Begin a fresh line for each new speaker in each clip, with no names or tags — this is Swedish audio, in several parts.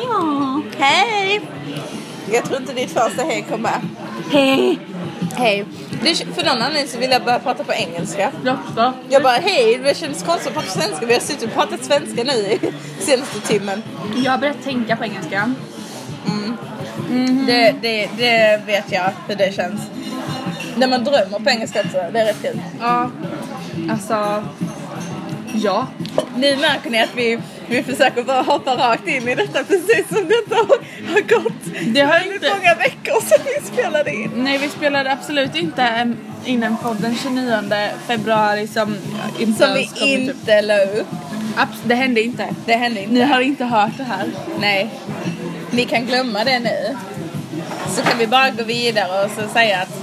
Hallå! Hej!
Jag tror inte ditt första hej kommer.
Hej!
Hej. Det, för någon anledning så vill jag börja prata på engelska.
Jag också.
Jag bara hej, det kändes konstigt att prata svenska. Vi har suttit och pratat svenska nu i senaste timmen.
Jag har börjat tänka på engelska.
Det, det, det vet jag hur det känns. När man drömmer på engelska också, det är rätt kul.
Ja. Alltså... Ja.
Nu märker ni att vi, vi försöker bara hoppa rakt in i detta precis som detta har, har gått.
Det har
väldigt
inte-
många veckor sedan vi spelade in.
Nej, vi spelade absolut inte em, in en podd den 29 februari som inte
Som vi
ens
typ-
kom ut.
inte la upp.
Abs- Det hände inte.
Det hände inte.
Ni har inte hört det här.
Nej. Ni kan glömma det nu. Så kan vi bara gå vidare och så säga att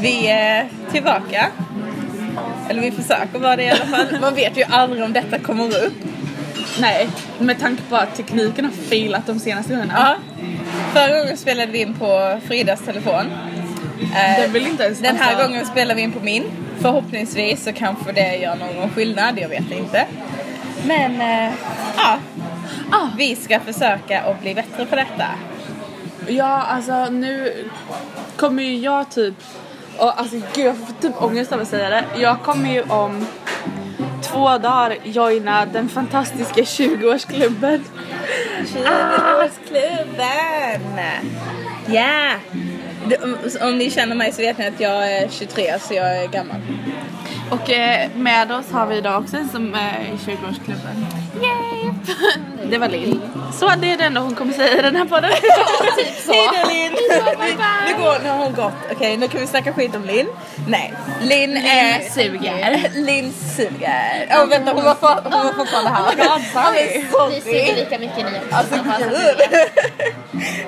vi är tillbaka. Eller vi försöker vara det i alla fall. Man vet ju aldrig om detta kommer upp.
Nej, med tanke på att tekniken har failat de senaste gångerna.
Ja. Förra gången spelade vi in på Fridas telefon. Eh,
Den vill inte ens-
Den här
alltså-
gången spelar vi in på min. Förhoppningsvis så kanske det gör någon skillnad, jag vet inte. Men eh, ja,
Ah.
vi ska försöka att bli bättre på detta.
Ja, alltså nu kommer ju jag typ... Och, alltså gud, jag får typ ångest av att säga det. Jag kommer ju om två dagar joina den fantastiska 20-årsklubben.
Tjuvårsklubben! Ja! Det- om- Om ni känner mig så vet ni att jag är 23 så jag är gammal.
Och eh, med oss har vi idag också en som är i 20-årsklubben. Yay! Det var Linn. Så det är det enda hon kommer säga i den här podden.
Typ så. Hej då Linn!
bye, bye.
Nu, går, nu har hon gått. Okej, nu kan vi snacka skit om Linn. Nej, Linn är...
suger.
Linn suger. Åh vänta, hon var, for, hon var fortfarande här.
my God, sorry.
Ja, men
Vi suger
sorry.
lika mycket ni också.
Alltså
Bara så att ni
gud!
vet.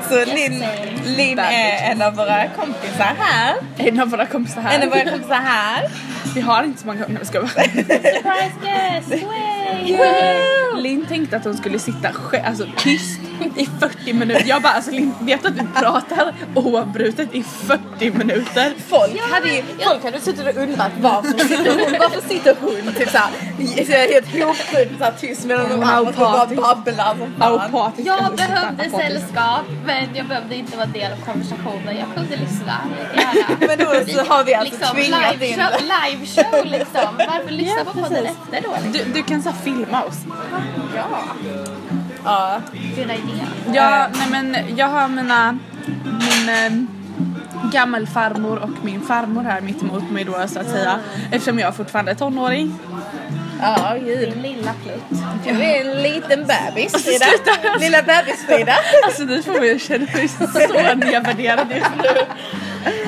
Så Linn Lin är en av våra kompisar här.
En av våra kompisar här.
En av våra kompisar här.
Vi har inte så många kompisar. ska jag bara.
Surprise guest! Way!
Linn tänkte att hon skulle sitta själv, alltså tyst i 40 minuter. Jag bara alltså Linn vet att du pratar oavbrutet i 40 minuter.
Folk hade ju folk hade suttit och undrat varför sitter hon, varför sitter hon typ såhär i- så här helt ihopkrupen såhär tyst medan de
Hon
andra står bara
apatisk.
babblar som fan.
Aupatisk.
Jag
alltså, sitta
behövde
apatisk.
sällskap men jag behövde inte vara del av konversationen. Jag kunde lyssna. Gärna.
Men då så har vi alltså
Liksom
tvingat in
liveshow live show liksom. Varför lyssna på podden
precis.
efter då?
Du, du kan så här filma oss.
Ja,
Ja.
goda idé.
Ja, nej men jag har mina, min eh, gammelfarmor och min farmor här mitt emot mig då så att säga. Eftersom jag fortfarande är tonåring.
Ja, gud.
Min lilla plutt.
Du är en liten bebis Frida.
sluta.
Lilla bebis Frida.
Alltså ni får mig att känna mig så nedvärderad just nu.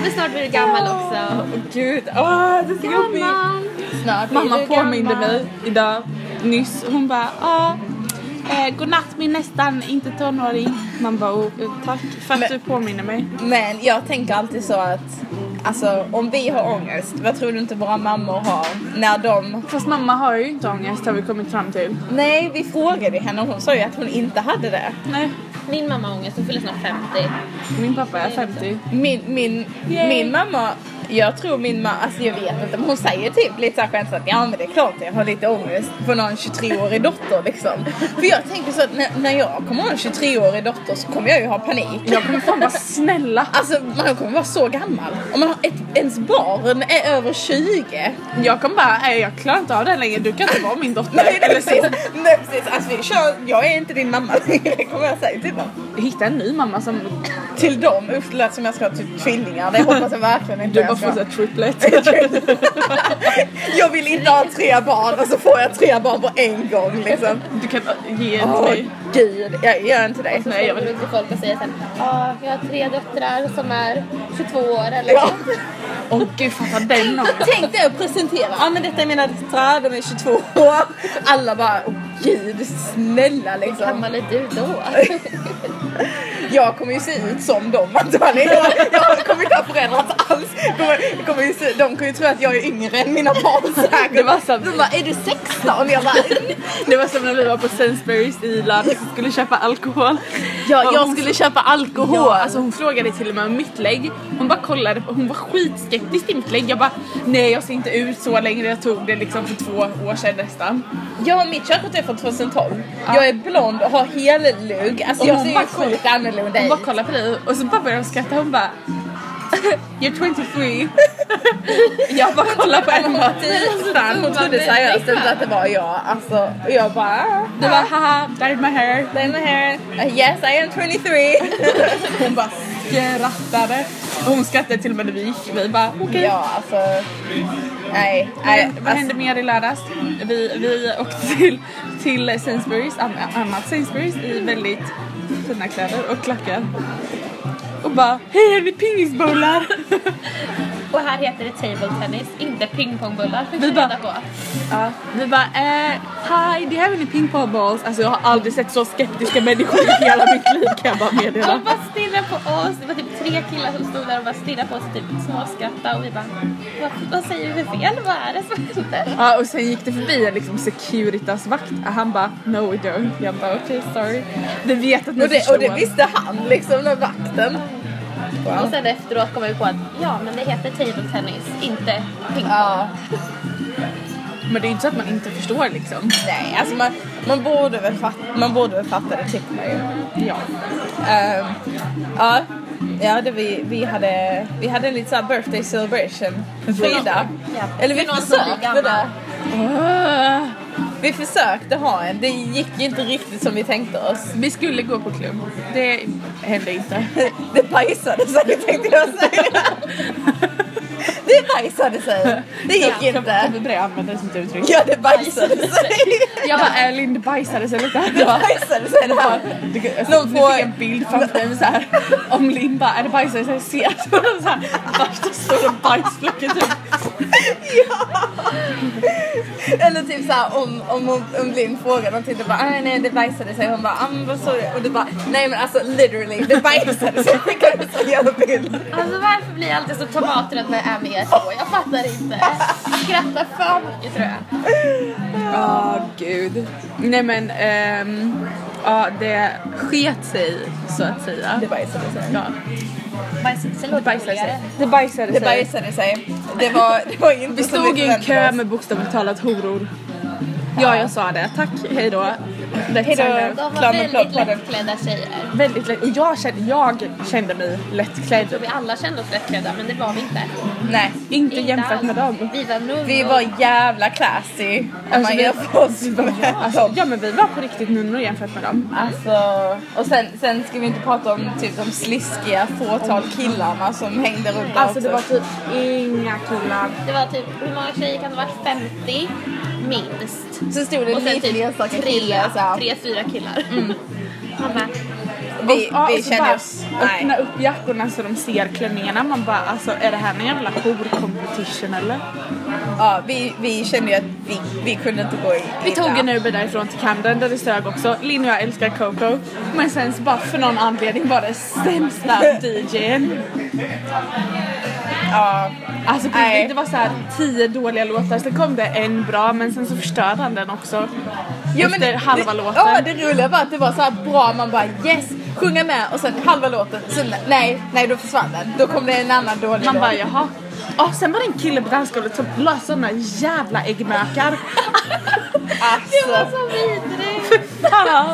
Men snart blir du gammal också.
Åh, Gud, åh det är så jobbigt.
Gammal!
Snart blir
Mamma
du
påminde
gammal.
mig idag nyss. Hon bara ja, eh, godnatt min nästan inte tonåring. Man bara oh, eh, tack för att
Men-
du påminner mig.
Men jag tänker alltid så att alltså om vi har ångest, vad tror du inte våra mammor har när de
Fast mamma har ju inte ångest har vi kommit fram till.
Nej, vi frågade henne och hon sa ju att hon inte hade det.
Nej,
Min mamma har ångest, hon fyller snart 50.
min pappa är 50.
Min, min,
Yay.
min mamma, jag tror min mamma, alltså jag vet inte, men hon säger typ lite såhär skämtsamt ja men det är klart jag har lite ångest på någon 23-årig dotter liksom. För jag tänker så att när, när jag kommer ha en 23-årig dotter så kommer jag ju ha panik.
Jag kommer fan vara snälla.
Alltså man kommer vara så gammal. Om man har ett, ens barn är över 20.
Jag kommer bara, nej jag klarar inte av det här längre. Du kan inte vara min dotter.
Nej, nej
Eller så,
precis. Nej, precis. Alltså, vi kör, jag är inte din mamma längre kommer jag säga till dem.
hitta en ny mamma som
Till dem, usch det lät som jag ska ha typ tvillingar. Det hoppas jag verkligen inte
du
jag
bara
ska
får
ha.
såhär triplet.
jag vill inte ha tre barn och så får jag tre barn på en gång liksom.
Du kan äh, ge en
Åh
till mig.
gud, jag gör inte det.
Nej, jag
Jag
vill
vill inte folk och säga såhär, "Ah, jag har tre döttrar som är 22 år eller
Ja.
Åh gud fatta den ångesten.
Tänk dig att presentera, ja ah, men detta är mina döttrar, de är 22 år. Alla bara, åh gud snälla
Hur
liksom.
gammal är du då?
Jag kommer ju se ut som dem antagligen. Jag kommer inte ha förändrats alls. Kommer, kommer ju se, de kommer ju tro att jag är yngre än mina barn säkert.
Det var så-
De bara, är du 16? Jag bara,
Det var som när vi var på Sainsburys i Irland och skulle köpa alkohol.
Ja,
Och
jag
hon-
skulle köpa alkohol.
Ja, alltså hon frågade till och med om mitt lägg. Hon bara kollade på, hon var skitskeptisk till mitt lägg. Jag bara nej jag ser inte ut så längre. Jag tog det liksom för två år sedan nästan.
Ja, mitt körkort är för från 2012. Jag är blond och har hellugg. Alltså
Och
jag
hon
ser ju
bara
sjukt annorlunda
Hon
ut.
bara kollar på dig och så bara börjar hon skratta. Hon bara You're 23. jag bara kollar på Emma.
Fan, hon trodde seriöst inte att det var jag. Alltså, och jag bara... ah,
Du bara haha, that is my hair.
Then my hair. Uh, yes, I am 23.
Hon bara skrattade. Och hon skrattade till och med när vi gick. Vi bara okej.
ja, alltså... Nej,
Vad
nej.
hände- Vad
Alltså,
hände mer i lördags? Vi, vi åkte till, till Sainsbury's, an- annat Sainsbury's i väldigt fina kläder och klackar. Och bara, hej är ni pingisbollar?
Och här heter det table tennis, inte pingpongbullar fick
Vi
vi
bara-
reda på.
Ja, vi bara, eh, hi, do you have any ping pong balls? Alltså jag har aldrig sett så skeptiska människor i hela mitt liv kan jag bara meddela.
De bara stirrade på oss, det var typ tre killar som stod där och bara stirrade på oss typ småskrattade och vi bara vad, vad säger vi fel? Vad är det som händer?
Ja och sen gick det förbi en liksom Securitas-vakt och han bara no we don't. Jag bara okej sorry. Vi vet att ni
och, det, och det
förstår.
visste han liksom, den vakten.
Och sen efteråt kom vi på att ja men det heter table tennis, inte pingpong.
Ja,
Men det är ju inte så att man inte förstår liksom.
nej, alltså man, man, borde väl fatta, man borde väl fatta det tycker man ju.
Ja.
Ehm, ja, ja det vi, vi, hade, vi hade en lite såhär birthday celebration med Frida.
Ja.
Eller vi
För någon som blir
försökte
gammal.
det.
Ah.
Vi försökte ha en, det gick ju inte riktigt som vi tänkte oss.
Vi skulle gå på klubb. Det hände inte.
Det bajsade sig tänkte jag säga. Det bajsade sig. Det gick inte.
Kommer börja använda det som ett uttryck.
Ja, det bajsade sig.
Jag bara, äh, Lind bajsade sig lite.
Det bajsade sig det här.
Det- alltså,
Någon
nu
får-
fick jag en bild framför mig såhär om Lind bara, är det bajsade sig? Ser jag såhär värsta stora bajsfläcken typ.
Eller typ såhär om, om, om, om Linn frågar någonting, det bara "Ah, nej det bajsade sig. Hon bara ah, men vad sa du? Och du bara nej men alltså literally det bajsade sig. Skickar du så jävla bild?
Alltså varför blir jag alltid så tomaträdd när jag är med er två? Jag fattar inte. Jag skrattar för mycket tror jag.
Ja, gud. Nej men, ehm, ja det sket sig så att säga.
Det bajsade sig.
Ja,
Bajs, sen låter
bajsade sig.
roligare.
Det bajsade
Det
sig.
bajsade sig. Det var, det var inte
Vi
som
stod i en
förväntade
kö
oss.
med bokstavligt talat horor. Ja, jag sa det. Tack, hej då. Hejdå.
De var
Klam och plock
väldigt
var det.
lättklädda tjejer.
Väldigt lätt. Och jag kände, jag kände mig lättklädd.
Vi alla kände oss lättklädda men det var vi inte.
Nej.
Inte
Inte
jämfört med
alls.
dem.
Vi var nunnor.
Vi var jävla classy. Om
Alltså,
man
vi-
jämför oss
Vi var,
med
alltså, ja men vi var på riktigt nunnor jämfört med dem.
Alltså, och sen, sen ska vi inte prata om typ de sliskiga fåtal killarna som hängde runt
Alltså
där
det var
också.
typ inga killar.
Det var typ, hur många tjejer kan det ha varit? 50 minst.
Så stod det
Och
en
sen
liten
typ
enstaka
tre,
kille såhär.
tre, fyra killar.
Mm.
Man bara,
Vi,
Ja,
vi
och så
kände
bara
oss...
Öppna
Nej.
upp jackorna så de ser klänningarna. Man bara alltså är det här någon jävla horcompetition eller?
Ja, vi, vi kände ju att vi, vi kunde inte gå in.
Vi tog en Uber därifrån till Camden där det sög också. Linn och jag älskar Coco. Men sen så bara för någon anledning var det sämsta DJn.
Ja,
Alltså på
Nej.
riktigt, det var så här tio dåliga låtar, sen kom det en bra men sen så förstörde han den också.
Ja,
Efter halva
det,
låten.
Ja, det roliga var att det var så här bra, man bara yes, sjunga med och sen halva låten, sen nej, nej då försvann den. Då kom det en annan dålig
Man
låt.
bara jaha. Ja, sen var det en kille på dansgolvet som la såna jävla äggmökar.
det var
alltså,
så vidrigt.
Ja.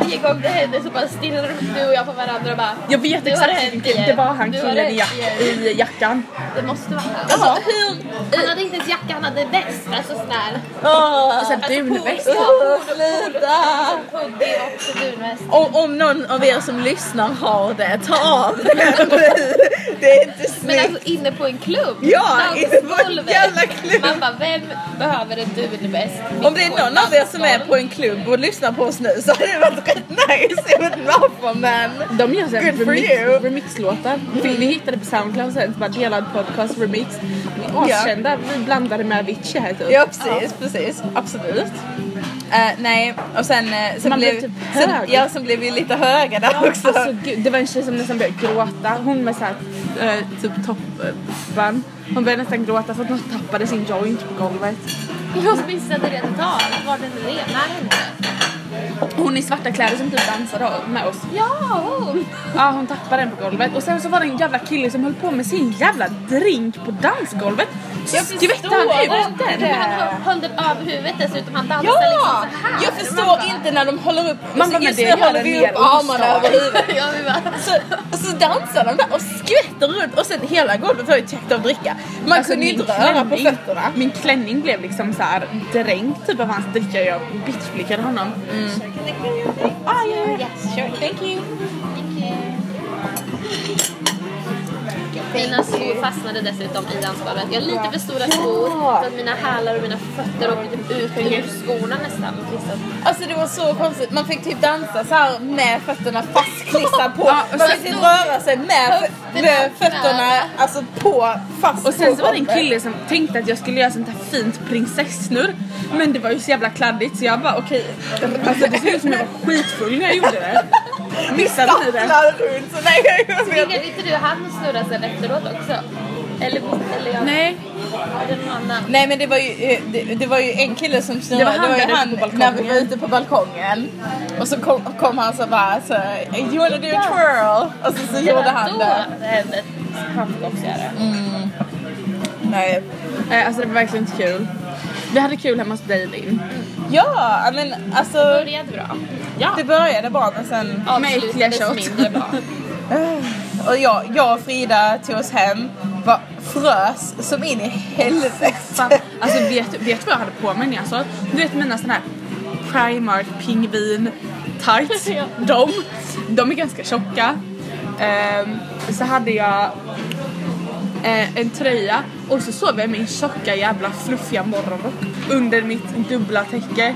Varje gång det hände så bara stirrade du och jag på varandra och bara
jag vet
"Nu har
exakt
det
vilken
hänt
kille.
igen.
Det var han
Nu har det
killen i,
hänt
jack-
igen."
i jackan.
Det måste vara han.
Jaha.
Alltså, hur? Han hade inte ens jacka, han hade väst. Alltså sån där. Alltså,
Och sen dunväst.
Ja,
Åh, sluta!
hoodie och också dunväst.
Om, om någon av er som lyssnar har det, ta av den. Det är inte
Men
snyggt.
alltså inne på en klubb.
Ja, inne på en
dansgolvet.
jävla klubb.
Man bara, vem behöver en dunväst?
Om det är någon av er som är på en klubb och lyssnar på oss nu så hade det varit rätt nice. Jag vet inte varför men...
De gör såhär
Good for
remix,
you.
remixlåtar. Vi, vi hittade på Soundcloud sen, så bara delad podcast remix. Vi
Ja.
Askända, vi blandade med Avicii här typ.
Ja precis, precis. Absolut. Eh, nej, och sen, eh, sen
Man
blev,
blir typ
sen,
hög.
ja, sen blev vi lite höga där också.
Alltså gud, det var en tjej som nästan började gråta. Hon med såhär eh, typ toppband. Hon började nästan gråta för att hon tappade sin joint på golvet.
Jag missade det totalt. Var den ren? Nej, inte.
Hon i svarta kläder som typ dansade med oss.
Ja, hon.
Ja hon tappade den på golvet och sen så var det en jävla kille som höll på med sin jävla drink på dansgolvet.
Jag
skvätte han
förstår
ut.
inte
Men
det.
Han höll- höll den över huvudet dessutom. Han dansade
Ja!
Alltså,
liksom så här.
Jag förstår inte när de håller upp...
Man bara,
så
men
just
det
nu
gör
håller
den
vi
mer
upp armarna
ostark.
över huvudet.
ja, vi bara...
Så, och så dansar de där och skvätter runt och sen hela golvet var ju täckt av dricka. Man
Alltså,
kunde ju
min
inte röra på
klänning-
fötterna.
Min klänning blev liksom så här dränkt typ av hans dricka. Jag bitchblickade honom.
Ah, yeah. Yes, sure. Thank you.
Mina skor fastnade dessutom i dansgolvet. Jag har lite för stora skor så att mina hälar och mina fötter åkte typ ut ur skorna nästan. Liksom.
Alltså det var så konstigt. Man fick typ dansa så här med fötterna fastklistrade på.
Ja, och
Man
sen
fick
stod-
röra sig med, med fötterna alltså på fast
Och sen
på
så var det en
golvet.
kille som tänkte att jag skulle göra sånt här fint prinsessnur. Men det var ju så jävla kladdigt så jag bara okej. Alltså det såg ut som jag var skitfull när jag gjorde det. Missade ni det?
Stapplar runt. Så nej, jag vet inte.
Blev inte du han snurra sen efteråt också? Eller visst, eller jag?
Nej.
Var det någon annan?
Nej men det var ju, eh, det, det var ju en kille som snurrade,
Det var han
ju
där ute på
när
balkongen.
vi var ute på balkongen. Och så kom, kom han så bara så, you wanna do a twirl? Och så, så gjorde han Mm.
då
det.
hände han fick också göra det.
Nej.
Eh, Alltså det var verkligen inte kul. Vi hade kul hemma hos dig Linn.
Ja, men alltså
Började bra.
det började bra men sen...
Med äckliga
Avslutades
shot.
mindre bra.
Och jag, jag och Frida tog oss hem, var, frös som in i helvete.
Alltså vet, vet du vad jag hade på mig när jag sa Du vet mina såna här Primark pingvin tights.
Ja.
de, de är ganska tjocka. Ehm, så hade jag eh, en tröja och så sov jag i min tjocka jävla fluffiga morgonrock under mitt dubbla täcke.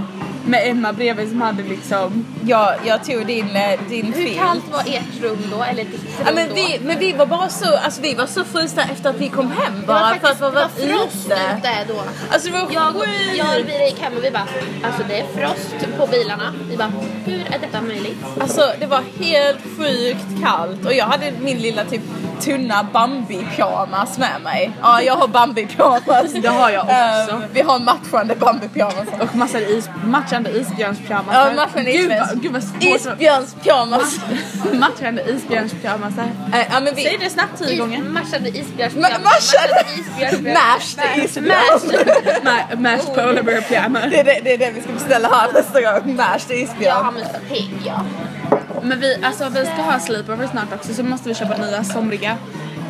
Med Emma bredvid som hade liksom
Jag, jag tog din, eh, din
Hur
film.
kallt var ert rum då? Eller ditt rum
Ja, men,
då?
vi, men vi var bara så, alltså, vi var så frusna efter att vi kom hem
det var
bara
faktiskt
för att vi
det var
var
frost
ute.
ute då.
Alltså det var
Jag, och-
sjukt.
jag och Elvira gick hem och vi bara, alltså det är frost på bilarna. Vi bara, hur är detta möjligt?
Alltså det var helt sjukt kallt och jag hade min lilla typ tunna Bambi-pyjamas med mig. Ja, jag har Bambi-pyjamas.
Det har jag också.
Eh, vi har matchande Bambi-pyjamas.
och massa is, matchande isbjörnspyjamasar.
Ja, matchande
gud, vad-
isbjörns-
gud vad svårt det var.
Isbjörns-pyjamas.
Matchande isbjörnspyjamasar.
Eh, ja, men vi...
Säg det snabbt typ. tio gånger.
Matchade isbjörnspyjamas.
Ma- Matchande
isbjörnspyjamas.
Mashed
Typ.
isbjörn.
Ma- Mashed polar bear pyjamas.
Det är det, det är det vi ska beställa här nästa gång. Mashed
Ja
isbjörn.
men pigg ja.
Men vi, alltså, vi ska ha sleepover snart också så måste vi köpa nya somriga.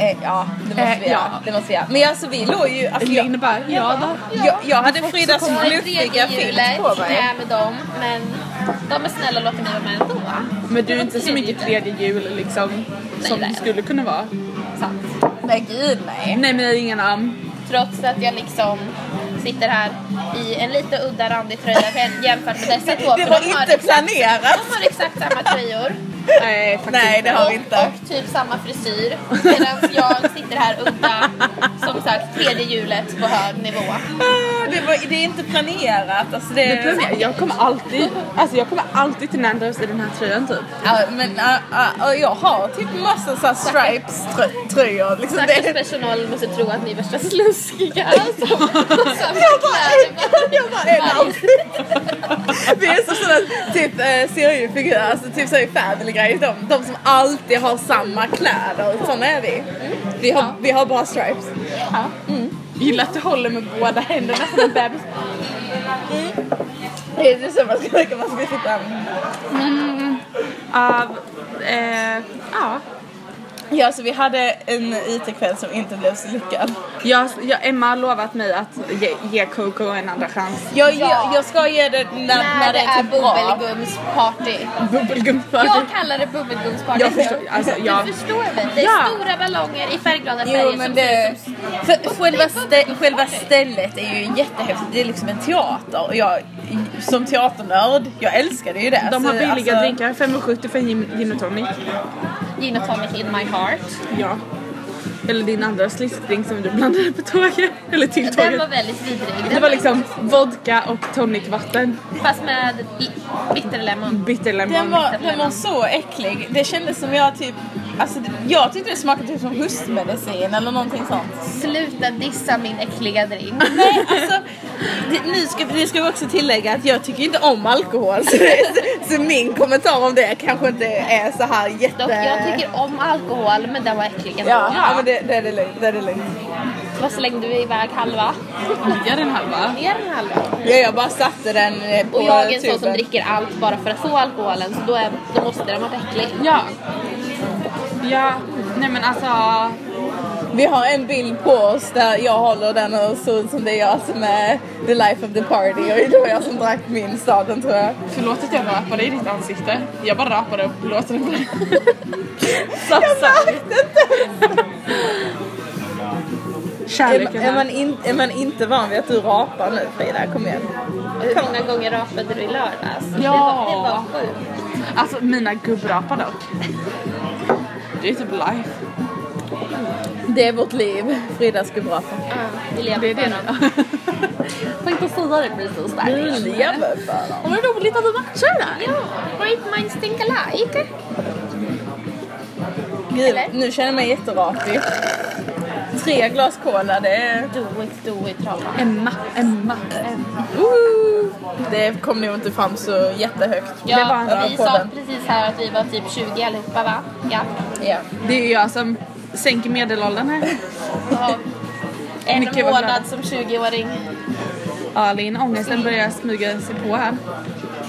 Eh, ja, det måste
Eh,
vi göra.
ja.
Det måste vi göra. Men alltså vi låg ju... Alltså, jag,
Linn bara, ja då.
jag, jag hade Fridas
Så det är
fluffiga
tredje
filt
hjulet,
på mig.
är med dem. Men de är snälla och låter mig vara med ändå va?
Men du är inte så
Tredje
mycket
hjulet.
tredje jul liksom som
det är
du
jag.
skulle kunna vara.
Sant.
Nej gud nej.
Nej men jag har inga namn.
Trots att jag liksom sitter här i en lite udda randig tröja jämfört med dessa två.
Det
för
var
de har
inte
exakt-
planerat.
De har exakt samma tröjor.
Nej faktiskt
Nej det
inte.
har
och,
vi inte.
och typ samma frisyr. Medan jag sitter här udda, som sagt, tredje hjulet på hög nivå.
Ah, Det, var, det är inte planerat. Alltså det,
Det tror jag. jag kommer alltid, alltså jag kommer alltid till Nandos i den här tröjan typ.
Ja, men ah, ah, och jag har typ massa så här stripes trö- tröjor. Liksom
Stackars
det.
personal måste tro att ni är värsta sluskiga. Alltså, samma
Jag bara en,
kläder.
jag bara en outfit. Vi är som sådana typ eh, seriefigurer, alltså typ så i family guy. De, de som alltid har samma kläder. Sådana är vi. Vi har, vi har bara stripes.
Gillar att du håller med båda händerna som en bebis.
Det är så man ska man ska sitta.
Av, eh, ja.
Ja, så vi hade en IT-kväll som inte blev så lyckad.
Jag, jag, Emma har lovat mig att ge, ge Coco en andra chans.
Jag, jag, jag ska ge det när, när,
När det är
typ bra.
bubbelgumsparty.
Bubbelgumsparty.
Jag kallar det bubbelgumsparty.
Jag förstår, alltså, jag-
Du förstår väl? Det är
Ja.
stora ballonger i färgglada
Jo
färger
men
som
det...
ser ut som
För själva, stä- själva stället är ju jättehäftigt. Det är liksom en teater. Och jag, som teaternörd, jag älskade ju det.
De
Så,
har billiga
alltså-
drinkar, 5,70 för en gin, gin och tonic.
gin och tonic in my heart.
Ja. Eller din andra sliskdrink som du blandade på tåget. Eller till
Den var
tåget.
väldigt vidrig. Den
Det var liksom vodka och tonicvatten.
liksom-
Fast med i- bitterlemon.
Bitterlemon.
Den var, den var så äcklig. Det kändes som jag typ... Alltså, jag tyckte det smakade typ som hustmedicin eller någonting sånt.
Sluta dissa min äckliga drink.
Nej, alltså, det- nu ska, nu ska vi också tillägga att jag tycker inte om alkohol. Så, så min kommentar om det kanske inte är så här jätte...
Dock, jag tycker om alkohol men den var äcklig ändå.
Ja, ja. men det, det är det lugnt. Det är det lugnt.
Vad slängde vi iväg halva?
Mer än halva.
Mer än halva.
Ja, jag bara satte den eh, på
Och jag är en sån
tuben.
som dricker allt bara för att få alkoholen så då, är, då måste den vara äcklig.
Ja. Ja, nej men alltså.
Vi har en bild på oss där jag håller den och ser ut som det är jag som är the life of the party och det var jag som drack min staden tror jag.
Förlåt att jag rapade i ditt ansikte. Jag bara rapade och blåste den på dig. Så sorry.
Är,
Kärleken
är, man
här.
in, är man inte van vid att du rapar nu Frida? Kom igen.
Hur många gånger rapade du i lördags?
Ja.
Det var, det var sjukt.
Alltså mina gubbrapar dock. Det är typ life.
Det är vårt liv. Frida ska prata.
Ja, vi lever för dem. Får inte säga det precis där.
Du lever för dem.
Och vad roligt att du matchar där.
Ja, great minds think alike.
Gud,
Eller?
nu känner jag mig jätterapig. Tre glas cola, det är...
Do it, do it, Rama.
Emma, Emma, Emma.
Woo! Det kom nog inte fram så jättehögt.
Ja,
Det var en
bra
vi sa
podden.
precis här att vi var typ 20 allihopa va? Ja.
Ja.
Det är jag som sänker medelåldern här.
Och en
Mycket var glada.
månad som 20-åring.
Alin, ångesten börjar smyga sig på här.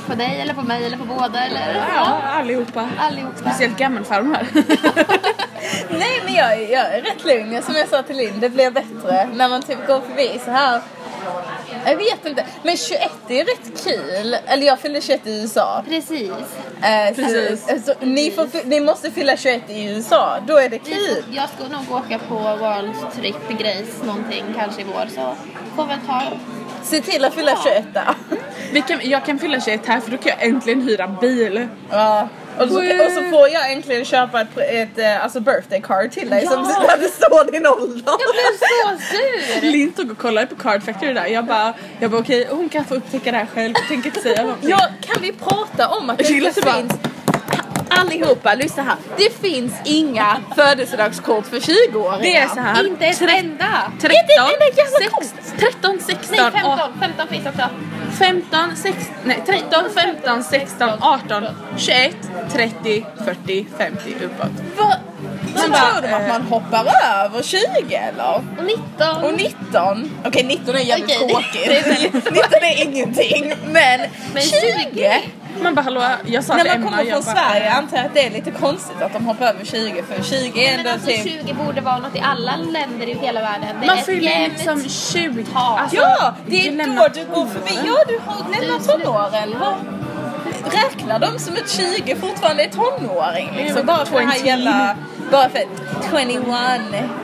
På dig eller på mig eller på båda eller?
Ja, allihopa.
Allihopa.
Speciellt gammelfarmor.
Nej men jag, är- jag är rätt lugn, Jag- som jag sa till Linn, det blir bättre när man typ går förbi så här. Jag vet inte, men 21 är rätt kul. Eller jag fyllde 21 i USA.
Precis.
Eh, så-
Precis.
eh, Så, ni, får, fy- ni måste fylla 21 i USA, då är det kul.
Vi- Jag ska nog åka på World Trip Grace någonting kanske i vår så får väl ta
Se till att fylla 21 där.
Vi kan, jag kan fylla 21 här för då kan jag äntligen hyra bil.
Ja. Och, så, och så får jag äntligen köpa ett, ett eh, alltså birthday card till dig som
Ja.
där det står din ålder.
Jag blev så sur!
Linn tog och kollade på Card Factory där. Jag bara, jag bara okej hon kan få upptäcka det här själv. Jag tänker inte säga någonting.
Ja, kan vi prata om att det
Gillar
inte
det bara.
finns... Allihopa, lyssna här. Det finns inga födelsedagskort för 20-åringar.
Det är så här.
Inte ett enda!
13,
det är jävla
16, 13, 16,
Nej 15, 15 finns också.
15, 16, nej 13, 15, 16, 18, 21, 30, 40, 50 uppåt.
Vad-
Man
Man
bara,
tror de att man hoppar över 20 eller?
Och 19.
Och 19? Okej 19 är jävligt
Okej, det- det är
tråkigt.
väldigt
19 är ingenting. Men,
Men
20?
20?
Man bara hallå, jag sa till
När man
Emma
kommer
jag
från
bara,
Sverige antar jag att det är lite konstigt att de hoppar över 20 för 20 är
Men
ändå
alltså
typ...
20 borde vara något i alla länder i hela världen. Det
Man
är ett
fyller ju
jämnt-
liksom 20.
Ja.
Alltså,
Ja, det är
du Mm.
då
lämnar
du går förbi. Ja, du har lämnat tonåren. Vad- Räknar de som ett 20 fortfarande är tonåring? Liksom, bara för det här
20.
jävla... Bara för att 21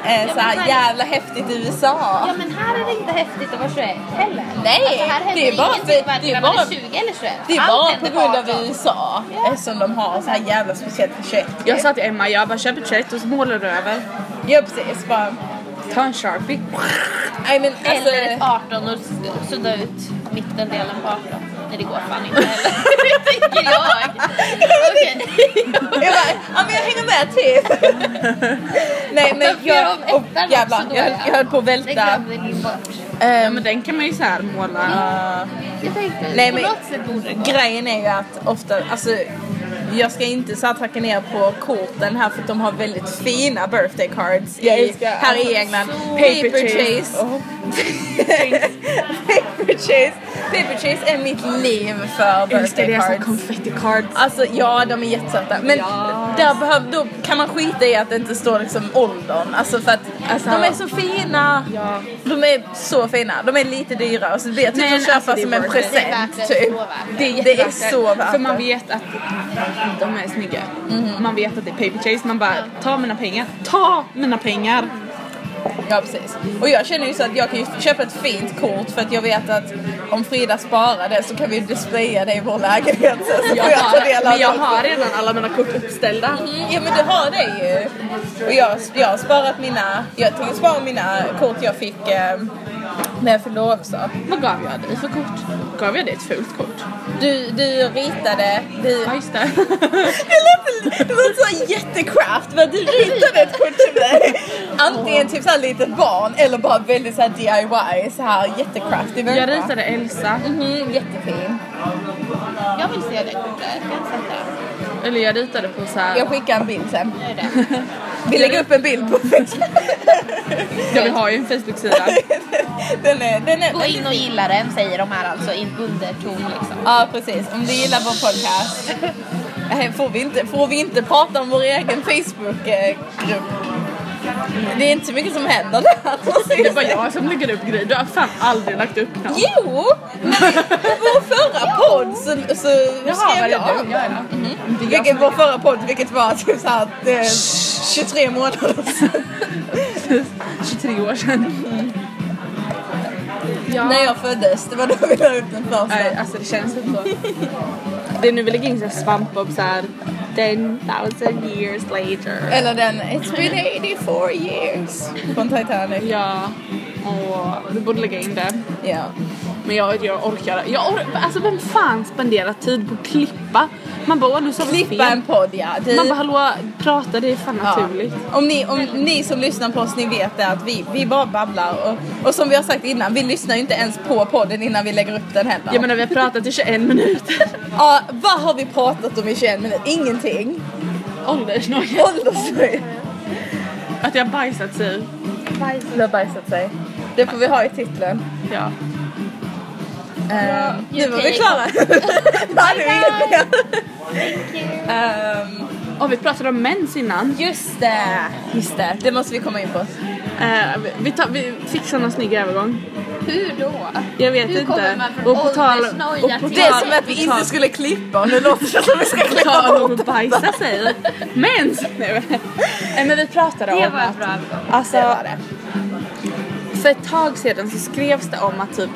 är så här jävla häftigt i USA.
Ja men här är det inte häftigt att vara 21 heller.
Nej,
alltså, här händer
det är bara
ingenting
för-
varken
det är
när man
bara-
är 20 eller 21.
Det är
Allt
bara på
händer
grund av
18.
USA
Ja.
som de har så här jävla speciellt för 21.
Jag sa till Emma, jag bara köp ett shirt och så målar du över.
Ja, precis. Bara,
Ta en sharpie.
I mean, alltså,
Eller ett 18 och s- sudda ut mittendelen på 18. Nej det går fan inte heller. Det tänker jag. Okej.
jag, bara, ja, men jag hänger med till. Nej, men
Varför gör
jag...
de ettan
Oh, jävlar,
också då,
jag,
ja?
jag höll på att
Det
välta.
glömde ni bort.
Ja
Ehm,
men den kan man ju så här måla.
ah.
Jag tänkte
Nej,
på
men-
något sätt borde det gå.
Grejen är ju att ofta, alltså jag ska inte så här tracka ner på korten här för att de har väldigt fina birthday cards
Jag
i,
älskar-
här i England.
Så-
Paper chase.
Oh.
Paper chase. Paper chase är mitt liv för
Älskar
birthday
deras såna
cards.
confetti cards.
Alltså ja, de är jättesöta. Men
Ja.
där behöv, då kan man skita i att det inte står liksom åldern. Alltså för att
Alltså-
de är så fina.
Ja.
De är så fina. De är lite dyra och så blir jag typ
Men
att köpa
alltså, det är
som en
worth it.
present.
Det är värt det,
typ.
så värt det.
det, är det är så värt
För man
det.
vet att de är snygga. Man vet att det är paper chase. Man bara, ta mina pengar. Ta mina pengar!
Ja precis. Och jag känner ju så att jag kan ju köpa ett fint kort för att jag vet att om Frida sparar det så kan vi displaya det i vår lägenhet sen så får
Jag
jag ta del
har, men
av
jag
det.
har redan alla mina kort uppställda.
Mm, Ja men du har det ju. Och jag, jag har sparat mina, jag tänker spara mina kort jag fick eh, när jag fyllde år också.
Vad gav jag dig för kort? Gav jag dig ett fult kort?
Du, du ritade, du...
Ja, just det.
Det låter, det låter så jättecraft men du ritade ett kort till mig. antingen typ såhär litet barn eller bara väldigt såhär DIY, såhär jättecrafty
Jag
människa.
ritade Elsa.
Mhm, jättefin.
Jag vill se det kortet. Jag kan sätta.
Eller jag ritade på så här.
Jag skickar en bild sen.
Gör det.
Vi lägger upp en bild på Facebook.
Jag vill ha ju en Facebook-sida.
den är, den är
Gå in och gilla den säger de här alltså i underton liksom.
Ja precis, om du gillar vår podcast. Nej, Får vi inte, får vi inte prata om vår egen Facebookgrupp? Det är inte så mycket som händer där.
Det är bara jag som lägger upp grejer. Du har fan aldrig lagt upp något.
Jo! Men på vår förra podd så, så skrev jag om den.
ja.
Vilket vår förra podd, vilket var typ så här, att, eh, 23 månader sedan.
23 år sedan. Ja.
När jag föddes, det var då vi la ut den
Nej,
första.
alltså det känns inte så. Det är nu vi lägger in så här svampbob såhär 10,000 years later.
Eller den It's been 84 years från Titanic.
Ja, och vi borde lägga in det.
Ja.
Men jag, jag orkar jag or Alltså vem fan spenderar tid på att klippa? Man bara, åh, nu sa vi
Klippa en
fel.
podd ja. Du-
Man bara, hallå, prata det är fan
Ja.
naturligt.
Om, ni, om ni som lyssnar på oss, ni vet det att vi, vi bara babblar. Och, och som vi har sagt innan, vi lyssnar ju inte ens på podden innan vi lägger upp den heller.
Jag menar vi har pratat i 21 minuter.
Ja, vad har vi pratat om i 21 minuter? Ingenting.
Åldersnoja.
Åldersnöjd.
Att jag bajsat sig.
Du har bajsat sig. Det får vi ha i titeln.
Ja.
Eh, nu var vi
okej.
klara. Då hade vi inget mer.
Thank you.
Ehm,
Och vi pratade om mens innan.
just det. Just det. Det måste vi komma in på.
Eh, vi- vi, tar, vi fixar någon snygg övergång.
Hur då?
Jag vet
Hur
inte.
kommer man från
Och på tal-
åldersnoja
och på
till-
Det är som
Ja,
att vi
vi tar-
inte skulle klippa och nu låter det som att vi ska
På
klippa
tal
bort.
om att bajsa sig. Mens! Nej, men- Nej men vi pratade om
Det var en
att
bra övergång.
Alltså,
Det var det.
för ett tag sedan så skrevs det om att typ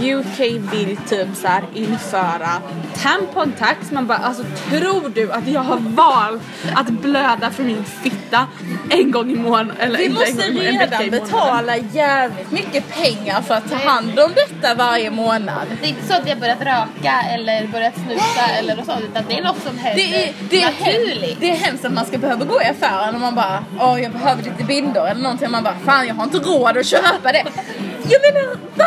UK vill typ så här införa tampontax. Man bara alltså tror du att jag har valt att blöda från min fitta en gång i månaden? Eller
Vi
inte en
måste
gång, i månaden, en vecka i
redan
månaden.
betala jävligt mycket pengar för att ta hand om detta varje månad.
Det är inte så att vi har börjat röka eller börjat snusa eller något sånt utan det är något som händer
Det är, det, är hem,
naturligt.
det är hemskt att man ska behöva gå i affären och man bara Åh jag behöver lite bindor eller någonting man bara Fan jag har inte råd att köpa det Jag menar va?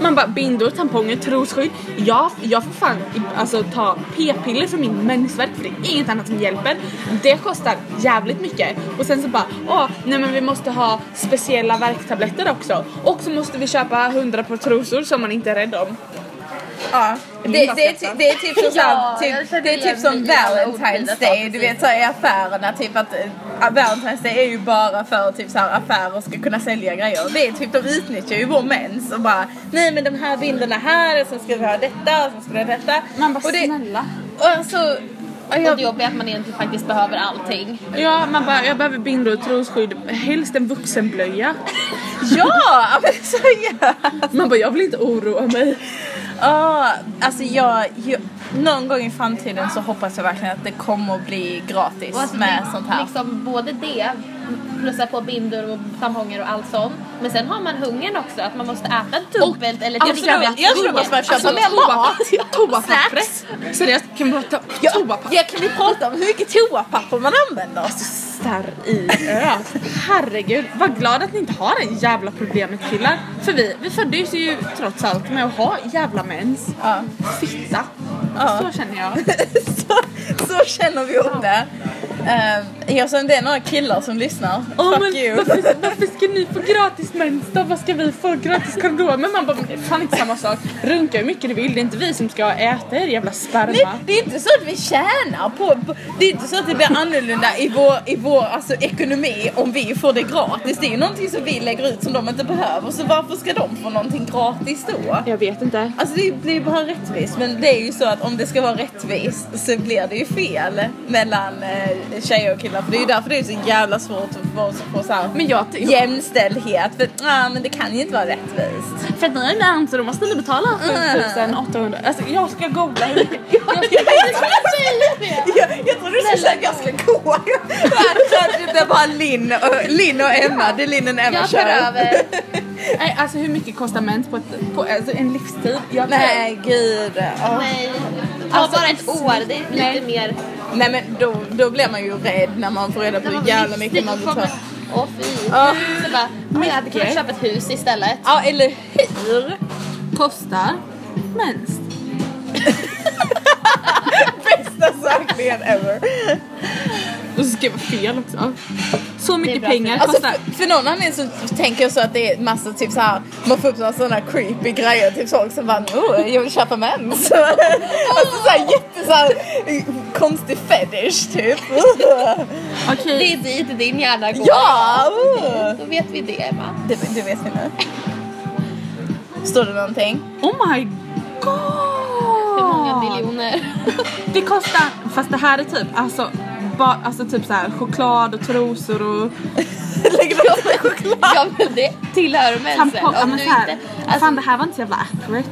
Man bara bindor, tamponger, trosskydd. Jag, jag får fan i- alltså, ta p-piller för min mensvärk för det är inget annat som hjälper. Det kostar jävligt mycket. Och sen så bara, åh nej men vi måste ha speciella värktabletter också. Och så måste vi köpa 100 par trosor som man inte är rädd om.
Ja, det, det, är ty- det är typ som,
Ja,
såhär,
jag
typ,
känner
det är typ
igen
som
mig i alla ordbilda
Valentine's
saker,
Day, du
precis.
vet såhär i affärerna typ att äh, Valentine's Day är ju bara för typ såhär affärer ska kunna sälja grejer. Det är typ de utnyttjar ju vår mens och bara nej men de här bilderna här och sen ska vi ha detta och sen ska vi ha detta.
Man bara
och det,
snälla.
och alltså, och
Och
jag,
det jobbiga är att man egentligen faktiskt behöver allting.
Ja man bara, jag behöver bindor, trosskydd, helst en vuxenblöja.
ja men seriöst!
Man bara, jag vill inte oroa mig.
Ja, alltså jag, jag, någon gång i framtiden så hoppas jag verkligen att det kommer att bli gratis
Och alltså,
med
det-
sånt här.
Liksom både det, plussa på bindor och tamponger och allt sånt. Men sen har man hungern också, att man måste äta dubbelt eller
absolut.
Jag tror man ska köpa mer
Toapapper. Toapapper. Seriöst, kan vi prata
Ja,
toapapper?
ja, kan vi prata om hur mycket toapapper man använder?
starr i örat. Herregud, var glad att ni inte har det jävla problemet killar. För vi, vi föddes ju trots allt med att ha jävla mens.
Ja.
Fitta.
Ja.
Så känner jag.
så, så känner vi om det. Uh, jag som det är några killar som lyssnar.
Åh,
Fuck
men
you.
varför, varför ska ni få gratis mens då? Vad ska vi få? Gratis kondomer? Men man bara, men det är fan inte samma sak. Runka hur mycket du vill, det är inte vi som ska äta er jävla sperma.
Nej, det är inte så att vi tjänar på, på... Det är inte så att det blir annorlunda i vår, i vår alltså, ekonomi om vi får det gratis. Det är ju någonting som vi lägger ut som de inte behöver. Så varför ska de få någonting gratis då?
Jag vet inte.
Alltså det blir bara rättvist men det är ju så att om det ska vara rättvist så blir det ju fel mellan eh, tjejer och killar för det är ju därför det är så jävla svårt att få, få så här
Men jag,
jämställdhet för ah, men det kan ju inte vara rättvist.
För att ni har mens så då måste ni betala 7800. Alltså jag ska googla hur mycket. Jag ska,
Jag, jag trodde du skulle säga att jag ska gå. Alltså, Det är bara Linn och, Linn och Emma, det är Linn och Emma
Jag tar över.
nej, alltså hur mycket kostar mens på, ett, på alltså, en livstid? Jag
Nej gud. Ja.
Nej. Ta
Alltså,
bara ett år, det är
nej.
lite mer...
Nej men då, då blir man ju rädd när man får reda på
När
hur
man får
jävla mycket man
livstid, då får
betalar.
man- Åh fy.
Ja.
Så bara, "Oj, jag hade kunnat
Mycket.
köpa ett hus istället.
Ja, eller hur?
Kostar mest.
Bästa sökningen ever.
Och så skrev jag fel också. Så mycket
bra
pengar
fel.
Alltså,
kostar.
för, för någon anledning så tänker jag så att det är massa typ så här, man får upp några sådana creepy grejer till folk som bara oh, jag vill köpa mens. alltså såhär jätte såhär konstig fetish typ.
Okej,
Det är dit din hjärna går.
ja! oh.
Då vet vi det Emma.
Det, det vet vi nu. Står det någonting?
oh my god!
Hur många miljoner?
Det kostar, fast det här är typ alltså, ba, alltså typ så här, choklad och trosor och
Lägger du upp choklad?
ja men det tillhör mensen.
tampong. Ja, men
du
så här,
inte, alltså,
Fan det här var inte så jävla accurate.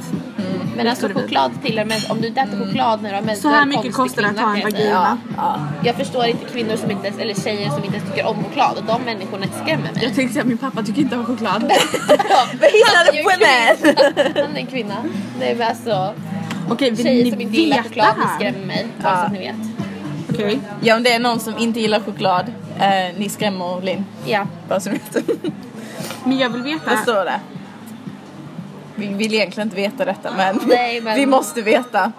men alltså
står det
choklad tillhör mensen. Om du inte äter choklad när du har mens
Mm. Så
då är
här
du
mycket
konstig
kostar det att
kvinna,
ha en
kan jag säga.
vagina.
Ja, ja.
Jag förstår inte kvinnor som inte ens, eller tjejer som inte ens tycker om choklad och de människorna skrämmer mig.
Jag tänkte säga att min pappa tycker inte om choklad.
But he's not a
Han är ju
woman!
kvinna. Han är en kvinna. Nej men alltså
Okej, vill
tjejer som
ni
inte gillar
veta
choklad det
här?
skrämmer mig. Bara
Ja.
så att ni vet.
Okej.
Ja om det är någon som inte gillar choklad, eh, ni skrämmer Linn.
Ja.
Bara så ni vet.
Men jag vill
Det
veta.
står det. Vi vill egentligen inte veta detta Ah, men,
Nej, men-
vi måste veta.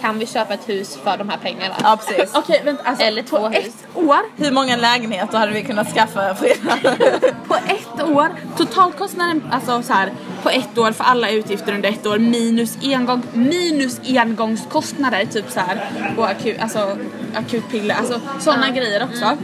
Kan vi köpa ett hus för de här pengarna?
Ja precis.
Okej vänta alltså.
Eller två
på
hus.
ett år.
Hur många lägenheter hade vi kunnat skaffa Frida?
På ett år. Totalkostnaden alltså så här på ett år för alla utgifter under ett år minus engång minus engångskostnader typ så här och akut alltså akutpiller alltså sådana grejer också.
Mm.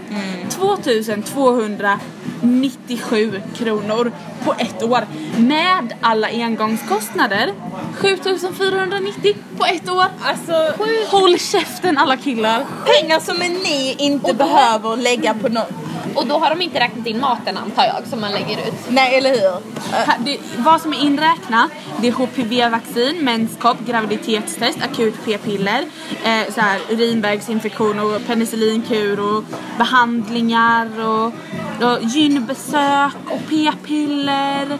Mm. 2297 kronor på ett år med alla engångskostnader 7490 på ett år.
alltså
Håll käften alla killar.
pengar som ni inte behöver lägga på någon.
Och då har de inte räknat in maten antar jag som man lägger ut.
Nej eller hur? Eh,
Här, Det, vad som är inräknat det är HPV-vaccin, menskopp, graviditetstest, akut p-piller, eh, så här, urinvägsinfektion och penicillinkur och behandlingar och, och gynbesök och p-piller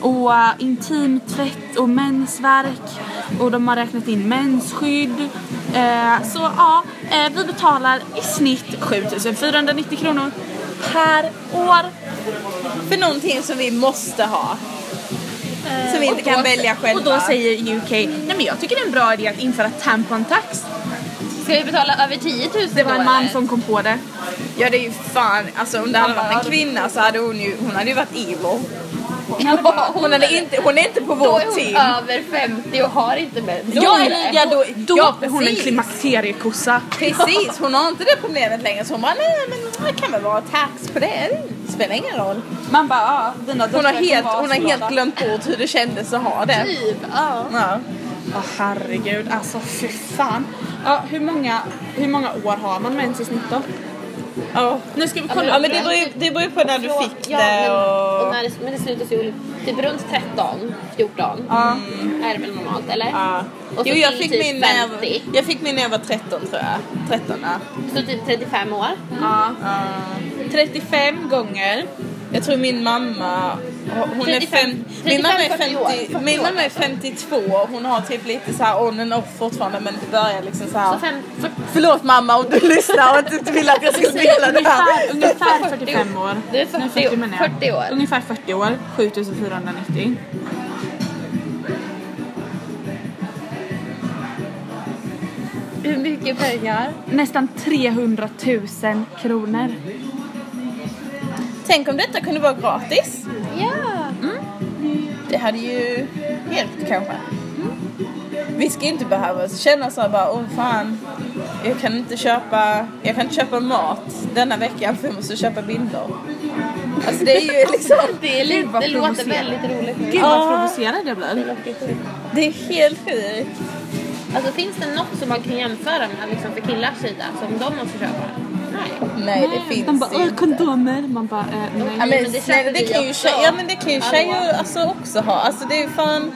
och eh, intimtvätt och mensvärk och de har räknat in mensskydd. Eh, så ja, eh, vi betalar i snitt 7490 kronor per år.
För någonting som vi måste ha. Som vi inte
Och då-
kan välja själva.
Och då säger UK, nej men jag tycker det är en bra idé att införa tampon tax.
Ska vi betala över 10 000
Det var
då,
en man
eller?
som kom på det.
Ja det är ju fan, alltså om det hade varit en kvinna så hade hon ju, hon hade ju varit evil. Hon, hade inte, hon är inte på
Då
vårt
är hon
team.
över 50 och har inte mens.
Ja,
Då-
eller- ja, då-
då
ja,
är hon en
precis.
klimakteriekossa.
Precis, hon har inte det problemet längre så hon bara nej men det kan väl vara tax på det, det spelar ingen roll.
Man bara, ja dina
Hon har helt, hon har helt glömt bort hur det kändes att ha det.
Typ, ja.
Ja.
Åh herregud, alltså fy fan. Ja, hur, många, hur många år har man mens i snitt då?
Ja.
Nu ska vi
men-
kolla
Ja
upp
men
det.
det beror, ju- det beror ju på när du
Från-
fick
ja,
det
Men, och
och...
när det, men det slutas ju typ runt 13, 14
Ja.
är det väl normalt eller?
Ja.
Och så
Jo jag
till
fick,
typ
min när jag, var-
50.
jag fick min när jag var 13 tror jag. 13 ja.
Så typ 35 år.
Ja.
Ja.
35 gånger.
Jag tror min mamma, hon är
35,
fem, min, mamma är
35, 40 år,
50,
40
min
år
mamma är 52 och hon har typ lite så här on and off fortfarande men det börjar liksom så här.
Så fem, fyrt-
Förlåt mamma om du lyssnar och inte vill att jag ska spela det
Ungefär,
här.
ungefär 45 år.
Du är
Nej,
40 år.
menar jag.
40 år.
Ungefär 40 år. 7490.
Hur mycket pengar?
Nästan 300 000 kronor.
Tänk om detta kunde vara gratis.
Ja!
Mm. Det hade ju hjälpt kanske. Vi ska inte behöva känna så här bara, åh fan, jag kan inte köpa, jag kan inte köpa mat denna veckan för jag måste köpa bilder. Alltså det är ju liksom,
Det, är
Gud,
lite,
vad
det låter
provocerande.
väldigt roligt. nu.
Gud
Ah.
vad provocerad jag
Det
blir.
låter sjukt.
det är helt sjukt.
Alltså finns det något som man kan jämföra med liksom för killars sida som de måste köpa? Nej.
Nej
De
det finns
bara,
ju
"Åh,
inte.
kondomer. Man bara, eh,
Ja,
nej.
Men det
men, snälla,
köper
det
vi
kan ju
också.
tjejer, ja, men det kan ju
Hallå.
tjejer alltså också ha. Alltså det är ju fan...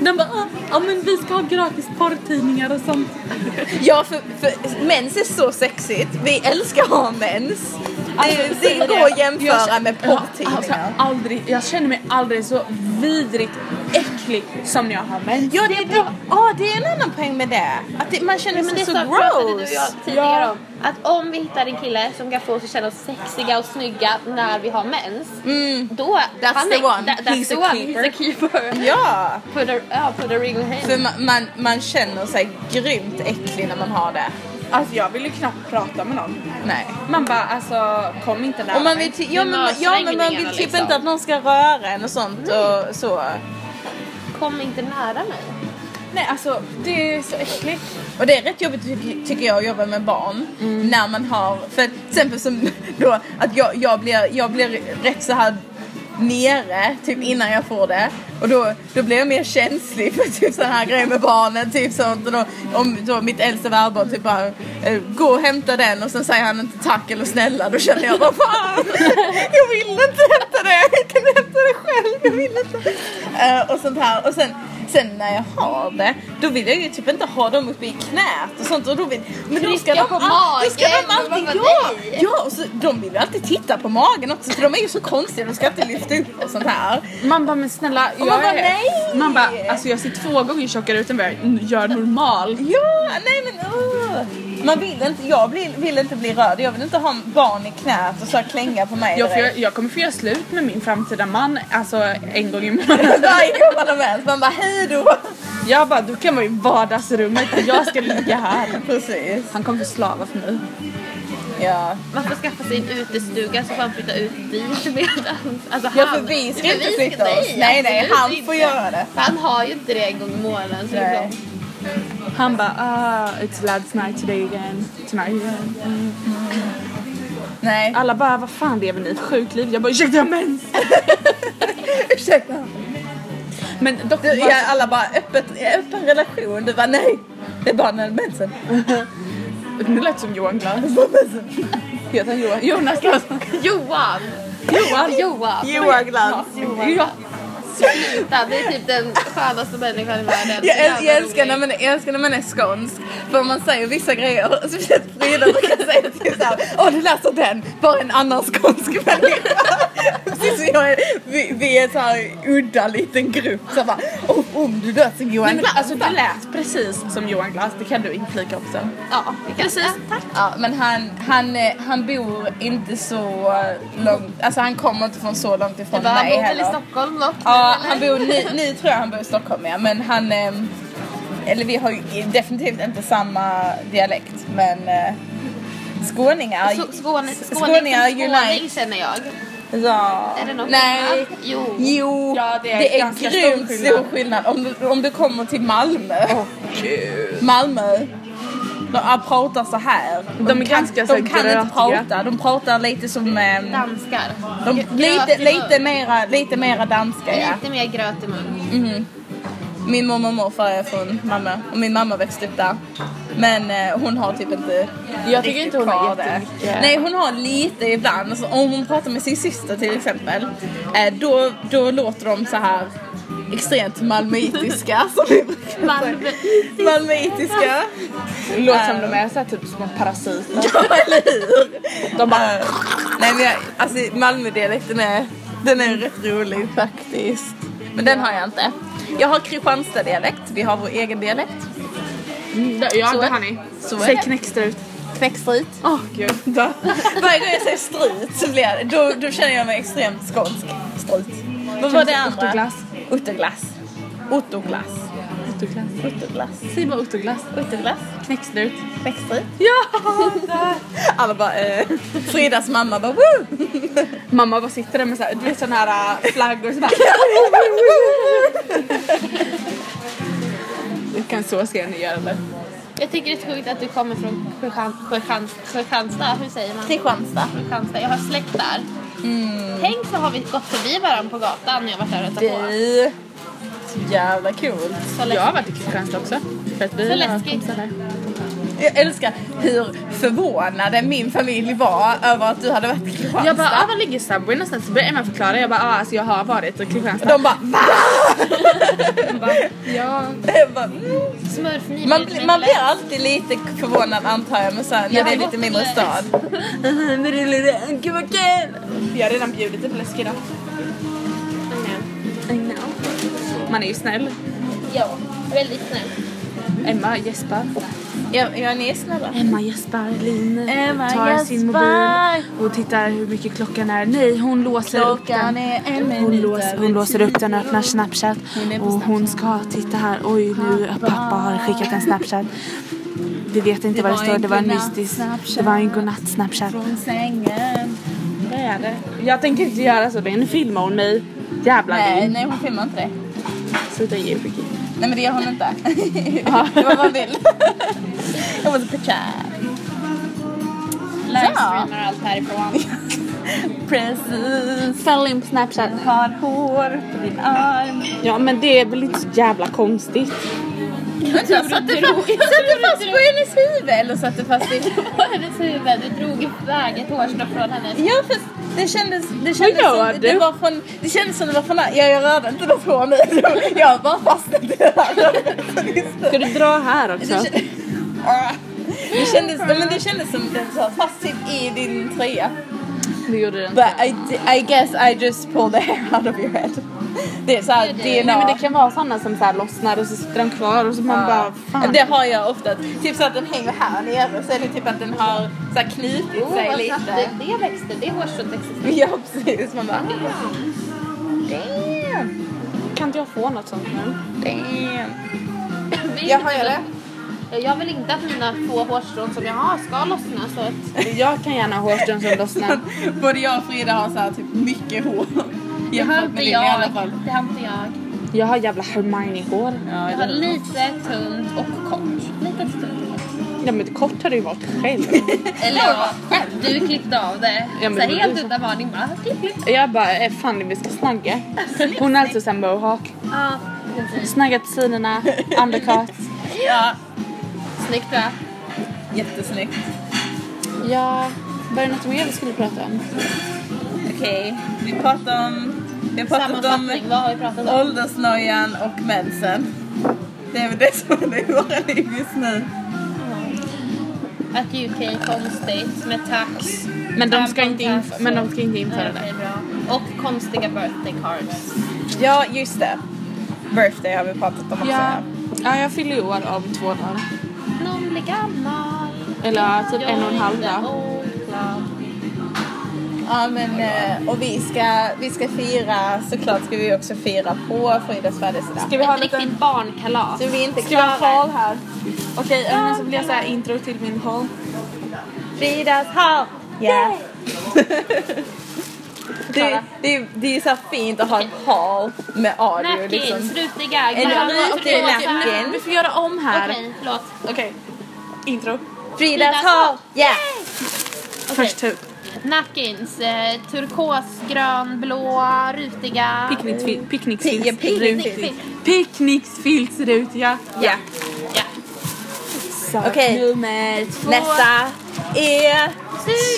De bara, "Åh, ja men vi ska ha gratis porrtidningar och sånt.
Ja, för, för mens är så sexigt. Vi älskar att ha mens. Alltså, Det, det
Säger
går
Alltså, jag.
att jämföra
Jag-
med
Ja, alltså,
porrtidningar.
aldrig, jag känner mig aldrig så vidrigt äcklig som när jag har mens.
Ja, det, det, ja, det är en annan poäng med det. Att det, man känner
Men
sig
det
så
sa- pratade du och jag
gross.
tidigare
Ja.
om. Att om vi hittar en kille som kan få oss att känna oss sexiga och snygga när vi har mens. Då,
Mm. That's
han
the
är-
one.
tha- that's
He's
the
a
one.
keeper.
He's a keeper.
Ja!
Put a, ja, put a ring on him.
För man, man, man känner sig grymt äcklig när man har det.
Alltså jag vill ju knappt prata med någon.
Nej.
Man bara alltså kom inte där.
Och man vill, ty- ja, men, ja men man vill
Humörsvängningarna,
typ
liksom.
inte att någon ska röra en och sånt och så.
Kom inte nära mig.
Nej alltså det är så äckligt.
Och det är rätt jobbigt ty- tycker jag att jobba med barn. När man har, för att till exempel som då att jag, jag, blir, jag blir rätt så här nere typ innan jag får det. Och då, då blir jag mer känslig för typ sådana här grejer med barnen. Typ sånt. Och då, om då mitt äldsta värdbarn typ bara eh, gå och hämta den och sen säger han inte tack eller snälla. Då känner jag bara fan jag vill inte hämta det. Jag kan hämta det själv. Jag vill inte. Eh, och sånt här. Och sen Sen när jag har det, då vill jag ju typ inte ha dem uppe i knät och sånt. Och då vill, men då ska,
Trycka
de,
på
all- då ska
magen,
de alltid...
vad var
Ja,
det?
ja och så, de vill ju alltid titta på magen också för de är ju så konstiga, de ska inte lyfta upp och sånt här.
Man bara men snälla jag
man bara,
är...
nej!
Man bara alltså jag ser två gånger tjockare ut än vad jag gör normalt.
Ja, nej men uh. Man vill inte, jag vill, vill inte bli rörd, jag vill inte ha barn i knät och så här klänga på mig
Jag, får,
direkt.
jag kommer få göra slut med min framtida man alltså en gång i månaden.
Varje gång man har mens, man bara hej då.
Jag bara du kan vara i vardagsrummet och jag ska ligga här.
Precis,
Han kommer förslava för mig.
ja.
Man får skaffa sig en utestuga så får han flytta ut dit med alltså,
Ja för vi ska
för
inte
vi ska-
flytta oss. Nej nej,
absolut
han
inte.
får göra det.
För han har ju inte det en gång i månaden. Så det är
Nej.
klart.
Han bara ah it's lads night today again. Tonight again.
Nej.
Alla bara vad fan lever ni för sjukt liv? Jag bara ursäkta jag har mens.
Ursäkta.
Men dock,
Du, ja, alla bara öppet, öppen relation. Du bara nej. Det är bara när mensen.
nu lät som Johan Glad. Heter han Johan? Jonas Glad.
Johan!
Johan!
Johan!
Johan Glans.
Ja.
Sluta, det är typ den skönaste människan i världen.
Jag,
Så jävla
äl- jag, älskar
rolig.
när man, jag älskar när man är skånsk. För man säger vissa grejer. och Så Frida brukar säga typ såhär. Åh du läser den. Bara en annan skånsk människa. Precis, som jag är, vi, vi är såhär udda liten grupp. Så bara. Om, om du läser Johan
Nej, men,
Glans.
alltså, det lät precis som Johan Glass, det kan du inflika också.
Ja, precis. Tack.
Ja, men han, han, eh, han bor inte så långt, alltså han kommer inte från så långt ifrån
Det var, han
mig
bor väl i
heller.
Stockholm dock?
Ja,
eller?
han bor, nu, nu tror jag han bor i Stockholm ja, men han, eh, eller vi har ju definitivt inte samma dialekt men eh, skåningar,
Så- Skåne, skåning,
skåningar
skåning
unite.
känner jag.
Ja.
Är det något
Nej.
annat? Jo.
Jo,
Ja, det
det
är
är,
ganska stor
grymt stor
skillnad.
skillnad, om, du, om du kommer till Malmö. Malmö. De ah, pratar så här.
De är ganska så
De kan inte
grötiga.
prata. De pratar lite som... ehm,
Danskar.
De,
Gröt i
lite,
mun.
lite, mera, lite mera danska ja.
Lite mer gröt i mun.
Min mormor och morfar är från Malmö och min mamma växte upp där. Men eh, hon har typ inte
Jag tycker
riktigt
inte hon har
kvar det.
jättemycket.
Nej hon har lite ibland. Alltså, om hon pratar med sin syster till exempel. Eh, då, då låter de så här extremt malmöitiska. som vi brukar säga.
Malmöitiska.
Malmöitiska.
Det låter som de är så här, typ små parasiter.
Ja eller hur.
De bara...
Eh, nej men jag, alltså Malmödialekten är, den är rätt rolig faktiskt. Men den har jag inte. Jag har Kristianstad-dialekt. Vi har vår egen dialekt.
Ja,
så
det
är-
har ni.
så är
Säg
det.
knäckstrut.
Knäckstrut.
Åh gud.
Varje gång jag säger strut så blir jag, då, då känner jag mig extremt skånsk. Strut. Vad var det andra?
Ottoglass.
Ottoglass. Ottoglass.
Ottoglass.
Ottoglass.
Säg bara ottoglass.
Ottoglass.
Knäckstrut.
Knäckstrut.
Ja!
Alla bara eh. Fridas mamma bara woo!
Mamma bara sitter där med så här, du vet sådana här äh, flaggor så bara... Du kan så se ni gör eller?
Jag tycker det är sjukt att du kommer från Kristian- Kristian- Kristianstad. Hur säger man?
Kristianstad.
Kristianstad. Jag har släkt där.
Mm.
Tänk så har vi gått förbi varandra på gatan när jag varit där och hälsat på.
Du. Så jävla coolt.
Så
Jag
läskigt.
har varit i Kristianstad också. För att vi
Så
har
läskigt.
kompisar där.
Jag älskar hur förvånade min familj var över att du hade varit i Kristianstad.
Jag bara, ah, var ligger Subway någonstans? Så började Emma förklara. Jag bara, ah, alltså jag har varit i Kristianstad.
De bara va?
Hon bara, ja.
Jag bara, mm.
Smurfnyper.
Man, blir- man blir alltid lite förvånad antar jag men så här, när
Jag
det är
har
lite mindre
eh,
gått
stad.
Gud vad kul! Vi har redan bjudit till läsk idag. Man är ju snäll.
Ja, väldigt snäll.
Emma gäspar.
Ja, ja, ni är snälla.
Emma gäspar, Lin
Emma
tar sin
gäspar.
mobil och tittar hur mycket klockan är. Nej, hon låser upp
Klockan
den.
är en
Hon,
minut
lås,
över
hon låser upp den och
tio.
öppnar Snapchat.
Hon är på
Och hon ska titta här. Oj, nu pappa har skickat en Snapchat. Vi vet inte
Det
vad det
var
står.
en
Det var en
godnatt
mystisk.
Snapchat.
Det var en godnatt Snapchat.
Från sängen. Vad är det?
Jag tänker inte göra så. Nu filmar hon mig. Jävlar.
Nej, nej hon filmar inte det.
Sluta ge Vicky.
Nej men det gör hon inte. det var vad hon vill. Jag måste pitcha.
Livestreamar allt härifrån.
Precis.
Följ in på Snapchat.
Har hår på din arm.
Ja men det är väl inte så jävla konstigt.
Jag satte fast, satte fast på hennes huvud. Eller satte fast i...
På hennes huvud. Du drog iväg ett hårstrå från hennes.
Ja fast det kändes... Det kändes
gör
som,
du?
Det, var från, det kändes som det var från... Ja, jag rörde inte något hår nu. Jag har bara fastnat i det här.
Ska du dra här
Det
också?
kändes, det kändes, nej, men det kändes som den satt fast i din tröja.
Det gjorde den.
But I, I guess I just pulled the hair out of your head. Det är såhär
Det
DNA.
är det.
Nej men det kan vara sådana som så här lossnar och så sitter de kvar och så man bara fan.
Det har jag ofta. Typ så att den hänger här nere så är det typ att den har så här knutit
Åh,
sig
Oh, vad snabbt
lite.
det, det växte. Det hårstrået växte.
Ja precis, man bara "Ah, damn,
Kan inte jag få något sånt nu?
damn.
Vi-
Jag har ju det.
Jag vill inte att mina två hårstrån som jag har ska lossna så att...
Jag kan gärna ha hårstrån som lossnar.
Både jag och Frida har så här typ mycket hår.
Det har
Jämfört med
inte
Linn i alla
jag.
fall.
Det har inte jag.
Jag har jävla Hermione-hår.
Ja,
Jag har lite tunt och kort. Lite tunt. och kort.
Ja men kort har det ju varit själv.
Eller ja, du klippte av det.
Ja, men
så här
det-
helt utan varning bara. klipp, klipp.
Jag bara, eh, fan vi ska snagga. Hon har alltså sån mohawk.
Ja, precis.
Snaggat sidorna, undercut.
ja,
Snyggt va?
jättesnyggt.
Ja, var det något mer vi skulle prata om?
Okej, vi pratar om... Vi har pratat om
Sammanfattning, vad har vi pratat om?
åldersnojan och mensen. Det är väl det som är i våra liv just nu.
Att UK konstigt med tax.
Men de ska
Tampons
inte,
här,
inf- men de ska inte införa
Okej,
det.
bra. Och konstiga birthday cards.
Ja, just det. Birthday har vi pratat om också.
Ja, ja jag fyller ju år om två dagar.
Någon blir gammal.
Eller ja, typ en och en halv
Jag är
dag.
oglad.
Ja, men eh, och vi ska, vi ska fira, såklart ska vi också fira på Fridas födelsedag.
Ska vi ha
Ett
lite...
riktigt barnkalas.
Så vi är inte
Ska vi ha
klara.
hall här? Okej, okay, så blir jag så här intro till min hall.
Fridas hall! Yeah. det, det, det är så här fint att ha en hall med audio
Napkins,
liksom.
frutiga,
Eller-
gröna,
okej,
rosa.
napkin.
Vi får göra om här. Okej.
Okej, förlåt.
Intro.
Fridas hall! Yeah!
Okej.
Först typ. ut.
Napkins, eh, turkos, grön, blå, rutiga.
Picknickfil-
Pick- pick-
Picknickfiltsrutiga. Picknickfiltsrutiga.
Yeah.
Ja.
Okej.
Nummer två.
Nästa är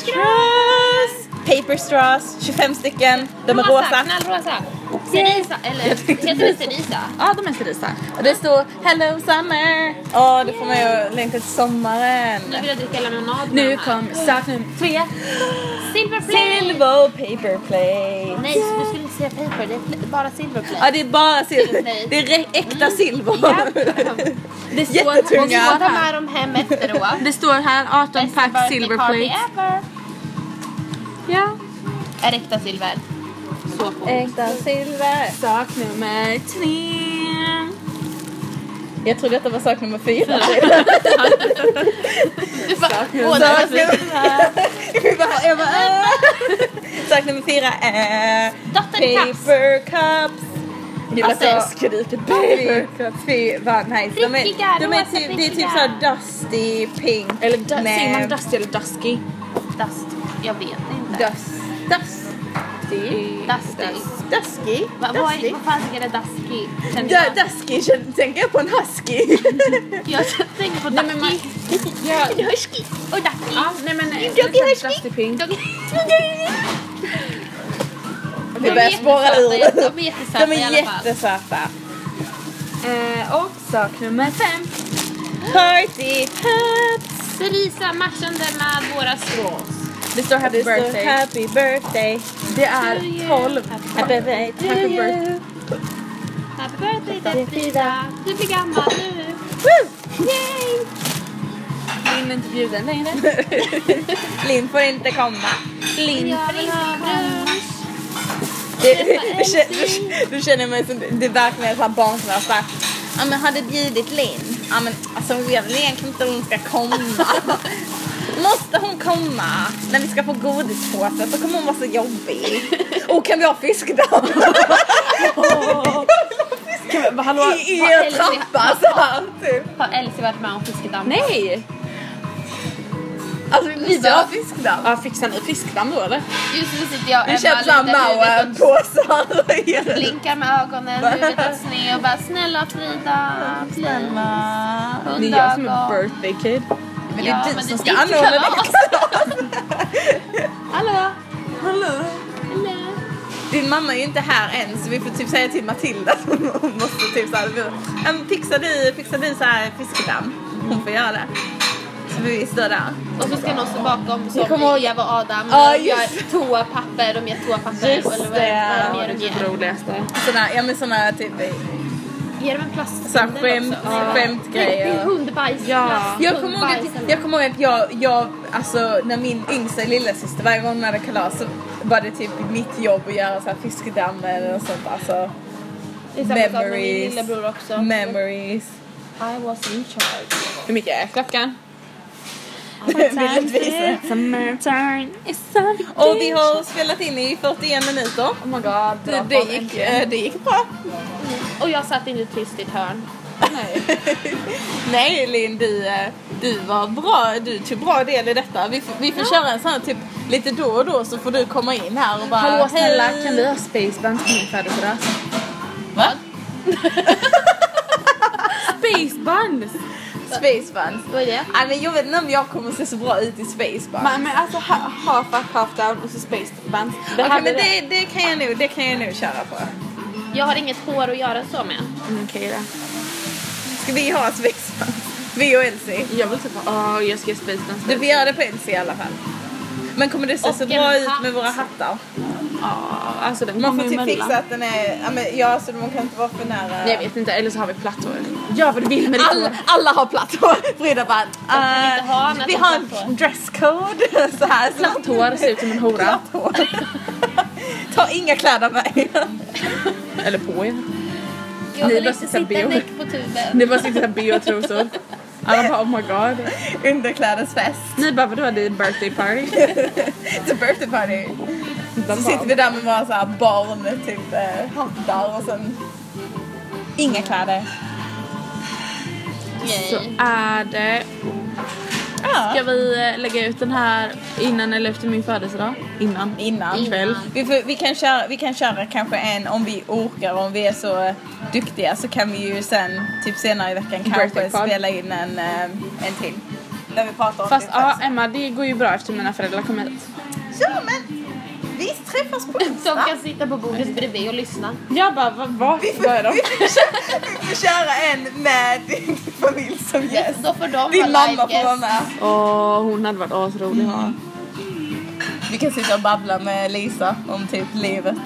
straws. Paper straws, 25 stycken. De är rosa.
Knallrosa. Cerisa, eller heter det cerisa?
Ja, de är cerisa.
Och det står Hello summer. Åh, det får man ju längta till sommaren.
Nu vill jag dricka lemonad med
Nu
de här.
kom sak nummer tre.
Silverplay!
Silver paper play.
Nej, du skulle inte säga paper, det är pl- bara silverplay.
Ja, det är bara silver.
Silverplay.
Det är re- äkta silver.
Ja.
Det står,
Jättetunga.
Och så tar
Det
de
står här,
med dem hem efteråt.
det står här 18
Bästa
pack
birthday party
silverplate.
ever.
Ja.
Är äkta silver. Så på.
Äkta silver.
Sak nummer tre.
Jag tror detta var sak nummer fyra.
Du bara,
Sak
båda är Alltså, så-
nummer- Bara, jag bara, äh. Sak nummer fyra är
Dotter i kaps.
paper cups. Gud
Alltså,
alltså jag skriker paper cups. Fy vad nice. De
Prickiga,
är, de är
rosa
typ, det är typ
prickiga.
såhär dusty pink.
Eller du-
med-
säger man dusty eller dusky?
Dust. Jag vet inte.
Dust. Dusty.
Eh,
Dusty.
Dusky.
Va, vad är-
Dusty.
vad fan är det dusky? Känner
Du-
jag.
Dusky, känner- tänker jag på en husky?
Jag tänker på
Nej, men man-
ducky.
Ja,
Husky och ducky.
ja, nej men...
Dusty,
exakt, Dusty pink.
De,
Vi börjar spåra ur.
De är jättesöta
De
i
är
alla fall.
jättesöta.
Eh, och sak nummer fem.
Party hats.
Cerisa matchande med våra strås.
Det står happy
Det står
birthday.
happy birthday.
Det är 12.
Happy birthday to
Happy
you.
birthday.
Happy birthday Frida. Du blir gammal nu.
Woo!
Yay!
Linn är inte bjuden längre.
Linn får inte komma. Linn
Jag vill ha brunch.
Du, du, känner- du, du känner mig som, det är verkligen såhär barn som är såhär, ja men hade bjudit Linn, ja men alltså jag vill egentligen inte hon ska komma. Måste hon komma när vi ska få godispåse så kommer hon vara så jobbig. Och kan vi ha fiskdamm?
Kan vi, hallå?
I, i er trappa såhär typ.
Har Elsie varit med om fiskedamm?
Nej!
Alltså vi ska ha fiskdamm.
Ja, fixar ni fiskdamm då eller?
Just nu sitter jag och
Vi
Emma
köper såhär
lutar huvudet åt-
Mauer-påsar och ger det.
blinkar med ögonen, huvudet åt sned och bara snälla Frida, please.
Det är jag som är birthday kid.
Men det
Ja,
är du
men
som
det är
ska
ditt
anordna det
kalas. Hallå?
Hallå.
Hallå?
Din mamma är ju inte här än så vi får typ säga till Matilda att hon hon måste typ såhär, um, fixar du, fixar du såhär fiskedamm? Hon får göra det. Så vi står där.
Och så ska någon stå bakom som
Jag kommer ihåg-
Eva och Adam
Ja,
och
just.
gör toapapper och mer toapapper.
Just
eller vad
det.
är det mer och
det är
mer.
det roligaste.
Sådana, ja men sådana typ
Ge dem en plast.
såhär skämt,
Det är
skämtgrejer.
hundbajs.
Ja.
plast,
Jag kommer, ihåg
hundbajs
att,
eller-
jag kommer ihåg att jag, jag, alltså när min yngsta lillasyster varje gång hon hade kalas så var det typ mitt jobb att göra såhär fiskedamm eller något sånt alltså.
Det är samma sak med min
memories.
lillebror också.
Memories.
I was in charge.
Hur mycket är klockan?
Bildvis.
Summertime is something.
Och vi har spelat in i 41 minuter.
Oh my god.
Det, det, gick, eh, det gick bra.
Och jag satt inte tyst i ett hörn.
Nej Linn, du, eh, du var bra. Du tog bra del i detta. Vi, får- vi får köra en sån här typ lite då och då så får du komma in här och bara
Hallå snälla,
"Hej."
kan vi ha spaceband på min födelsedag?
Va?
Spaceband!
Space Buns.
Vad är det?
Nej men jag vet inte om jag kommer se så bra ut i Space Buns.
Men alltså ha- half up, half down och så spaceband. Det
Okej
här
men
blir det.
det, det, kan jag nog, det kan jag nog köra på.
Jag har inget hår att göra så med.
Mm, okej då.
Ska vi ha Space Buns? Vi och Elsie.
Jag vill typ ha... jag ska göra spaceband.
Du får göra det på Elsie i alla fall. Men kommer det se
Och
så
en
bra ut
hatt.
med våra hattar?
Ja, alltså den
Man
kommer
får
ju
typ
emellan.
fixa att den är, ja, men, ja så man kan inte vara för nära.
Nej, jag vet inte, eller så har vi platt hår. Gör vad du vill med ditt
Alla,
hår.
alla har platt hår. Frida bara,
kan inte ha
eh,
annat
vi
än
har en
platt hår.
dresscode. Så här, så
Platt hår ser ut som en hora.
Platt hår. Ta inga kläder av mig.
Eller på er.
Jag
Ni
vill
bara
inte
sitta bio.
sitta näck på tuben.
Ni bara sitter såhär bh och trosor. Alla bara oh my god.
Underklädesfest.
Ni bara vadå det är birthday party?
It's a birthday party.
De
Så
bara,
sitter vi där med våra så här barn med typ eh, hattar och sen inga kläder.
Så
Nej.
är det.
Ja.
Ska vi eh, lägga ut den här innan eller efter min födelsedag? Innan.
Innan.
Ikväll.
Vi, får, vi, kan köra, vi kan köra kanske en om vi orkar om vi är så eh, duktiga så kan vi ju sen typ senare i veckan kanske
Birthday-pod.
spela in en, eh, en till. Där vi pratar om
Fast
det
ja Emma det går ju bra eftersom mina föräldrar kommer hit.
Ja men vi träffas på
Mm.
Som
onsdag.
kan sitta på bordet bredvid och lyssna.
Jag bara va- vart var är de?
Vi får köra- vi får köra en med din familj som gäst.
Då får de ha
Din mamma
live
får vara
guest.
med.
Åh hon hade varit asrolig.
Vi kan sitta och babbla med Lisa om typ livet.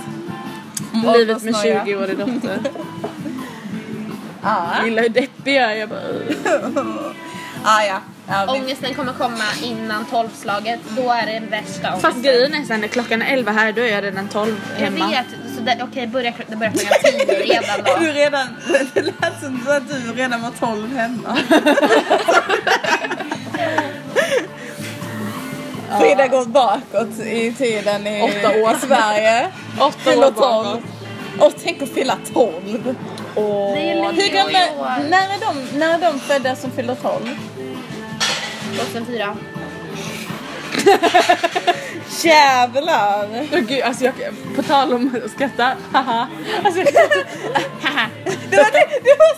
Om
Livet med
åldersnoja.
20-årig dotter.
Ja.
Gillar hur deppig jag är. Jag bara, "Ugh."
Ah, ja. ja vi,
Ångesten kommer komma innan tolvslaget. Då är det värsta ångesten.
Fast grejen är sen när klockan är 11 här då är jag redan 12
Jag
hemma.
vet. så det- Okej, börja, det börjar klockan tio redan
Är du
då.
redan, det lät som att du redan var 12 hemma. Frida går bakåt i tiden i,
Åtta år.
i Sverige.
Åtta
Fyller
år
12.
bakåt.
Och tänk att fylla 12.
Åh.
Det är Leo
Hur gamla,
i år.
när, är de, när är de födda som fyller 12?
2004.
Jävlar!
Åh gud, alltså jag, på tal om att skratta, haha. Alltså,
Det var, det, det var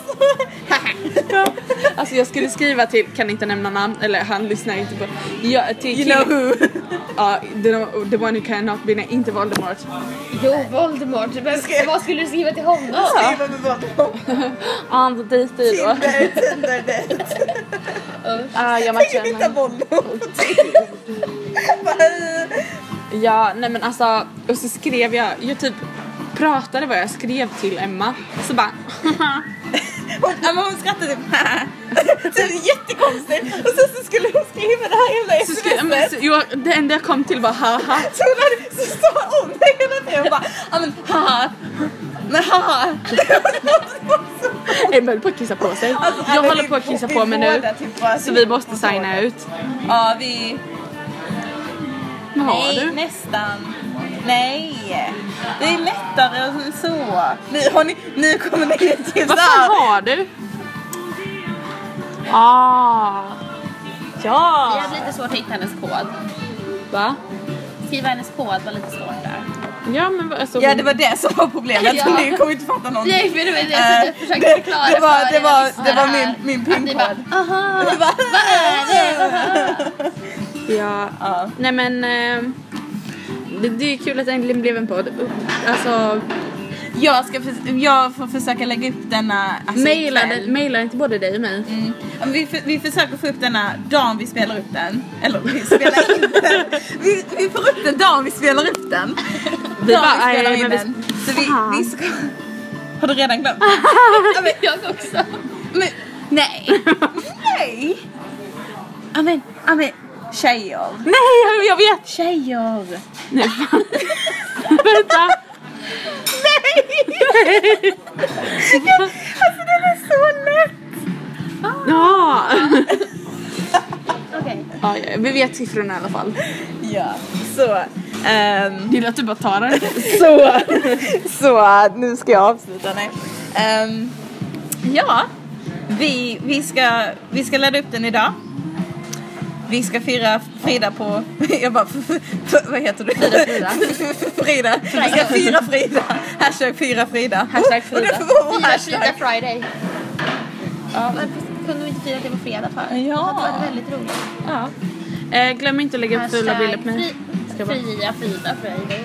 så...
alltså jag skulle skriva till, kan inte nämna namn, eller han lyssnar inte på. Jag, till
You know who?
Ja, the, the one who cannot be, nej inte Voldemort.
Jo, Voldemort. Men,
Ska-
Vad skulle du skriva till honom?
Skriva med vad?
Han på dejt i då.
Tinder, Tinder-dejt.
Ja, jag
Tänk
matchar
att hitta
henne.
bollen. Bara,
Ja, nej men alltså, och så skrev jag, jag typ pratade vad jag skrev till Emma. Så bara,
Ja, men hon skrattade typ Det är jättekonstigt. Och sen så skulle hon skriva det här jävla
Så ska, men,
smset.
så, jo, det enda jag kom till var haha.
Så hon hade, så sa hon det hela tiden. Hon bara, ja men haha. Men haha.
Emma höll på att kissa på sig.
Alltså,
jag håller på att kissa på mig nu.
typ
Så vi måste signa ut.
Ja vi...
Vad har
Nej,
du?
nästan. Nej. Det är lättare än så. Nu, har ni, nu kommer ni till
Vad
så här-
fan har du? Ah.
Vi
Ja.
hade lite svårt att hitta hennes kod.
Va?
Skriva hennes kod var lite svårt där.
Ja men vad- alltså.
Ja
hon-
det var det som var problemet.
Ja.
Ni kommer inte fatta någonting.
Nej, för det var det
Eh,
som jag försökte
det-
förklara
det var-
för
det
er
var-
lyssnare
det var min-
här.
min
Att ni bara, "Ah,
pinkod.
aha,
Det var-
vad är det?
Ja.
Ja.
Nej men. ehm, det, det är kul att det äntligen blev en podd. Alltså.
Jag, ska för, jag får försöka lägga upp denna... Alltså,
Maila,
ikväll.
maila inte både dig och mig.
Mm. Ja, men Vi, för, vi försöker få upp denna dagen vi spelar upp den. Eller vi spelar in den. Vi, vi får upp den dagen vi spelar upp den.
Vi
Dagen
bara,
vi spelar
nej,
in
men vi-
den. Så vi,
Fan.
vi ska... Har du redan glömt?
Ja, men Jag också.
Men, nej. Nej. Amen, amen. Tjejer.
Nej jag vet!
Tjejer.
Nej fan. Vänta. Nej!
Alltså den är så lätt.
Ja.
Okej.
ja. ja, Vi vet siffrorna i alla fall.
Ja, så. ehm,
Gillar att du bara tar den.
så, så nu ska jag avsluta. Nej. Ehm, ja, vi, vi, ska, vi ska ladda upp den idag. Vi ska fira Frida på... Jag bara... Vad heter du?
Frida.
Frida. Vi ska fira Frida. Hashtag fira Frida.
Hashtag
Och det
Frida.
får vara vår
Fira
hashtag.
Frida Friday. Varför kunde vi inte fira det på fredag för?
Ja.
Det hade varit väldigt roligt.
Ja. Eh, glöm inte att lägga upp fula bilder på mig.
fri,
Ska bara-
fria Frida Friday.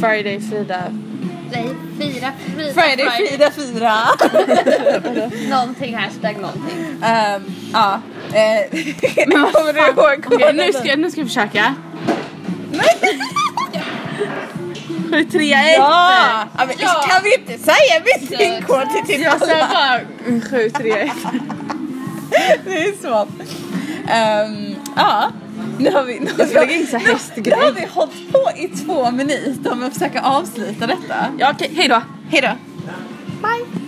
Friday, Frida.
Nej, fira Frida
Friday, Frida, Frida.
Någonting hashtag någonting.
Ehm, Ja. eh, Kommer du ihåg?
Okej, nu, ska, jag- nu ska jag försöka. Tre, ett.
Ja! ja. men
Ja.
Kan vi inte säga min
Ja,
pinkod till typ
Jag säger
alla?
bara mm, sju, tre, ett.
Det är svårt. Ehm, ja, nu har vi... Nu har
Jag ska lägga
vi-
in så här
nu-
hästgrej.
Nu har vi hållit på i två minuter med att försöka avsluta detta.
Ja, okej, hejdå.
Hejdå!
Bye!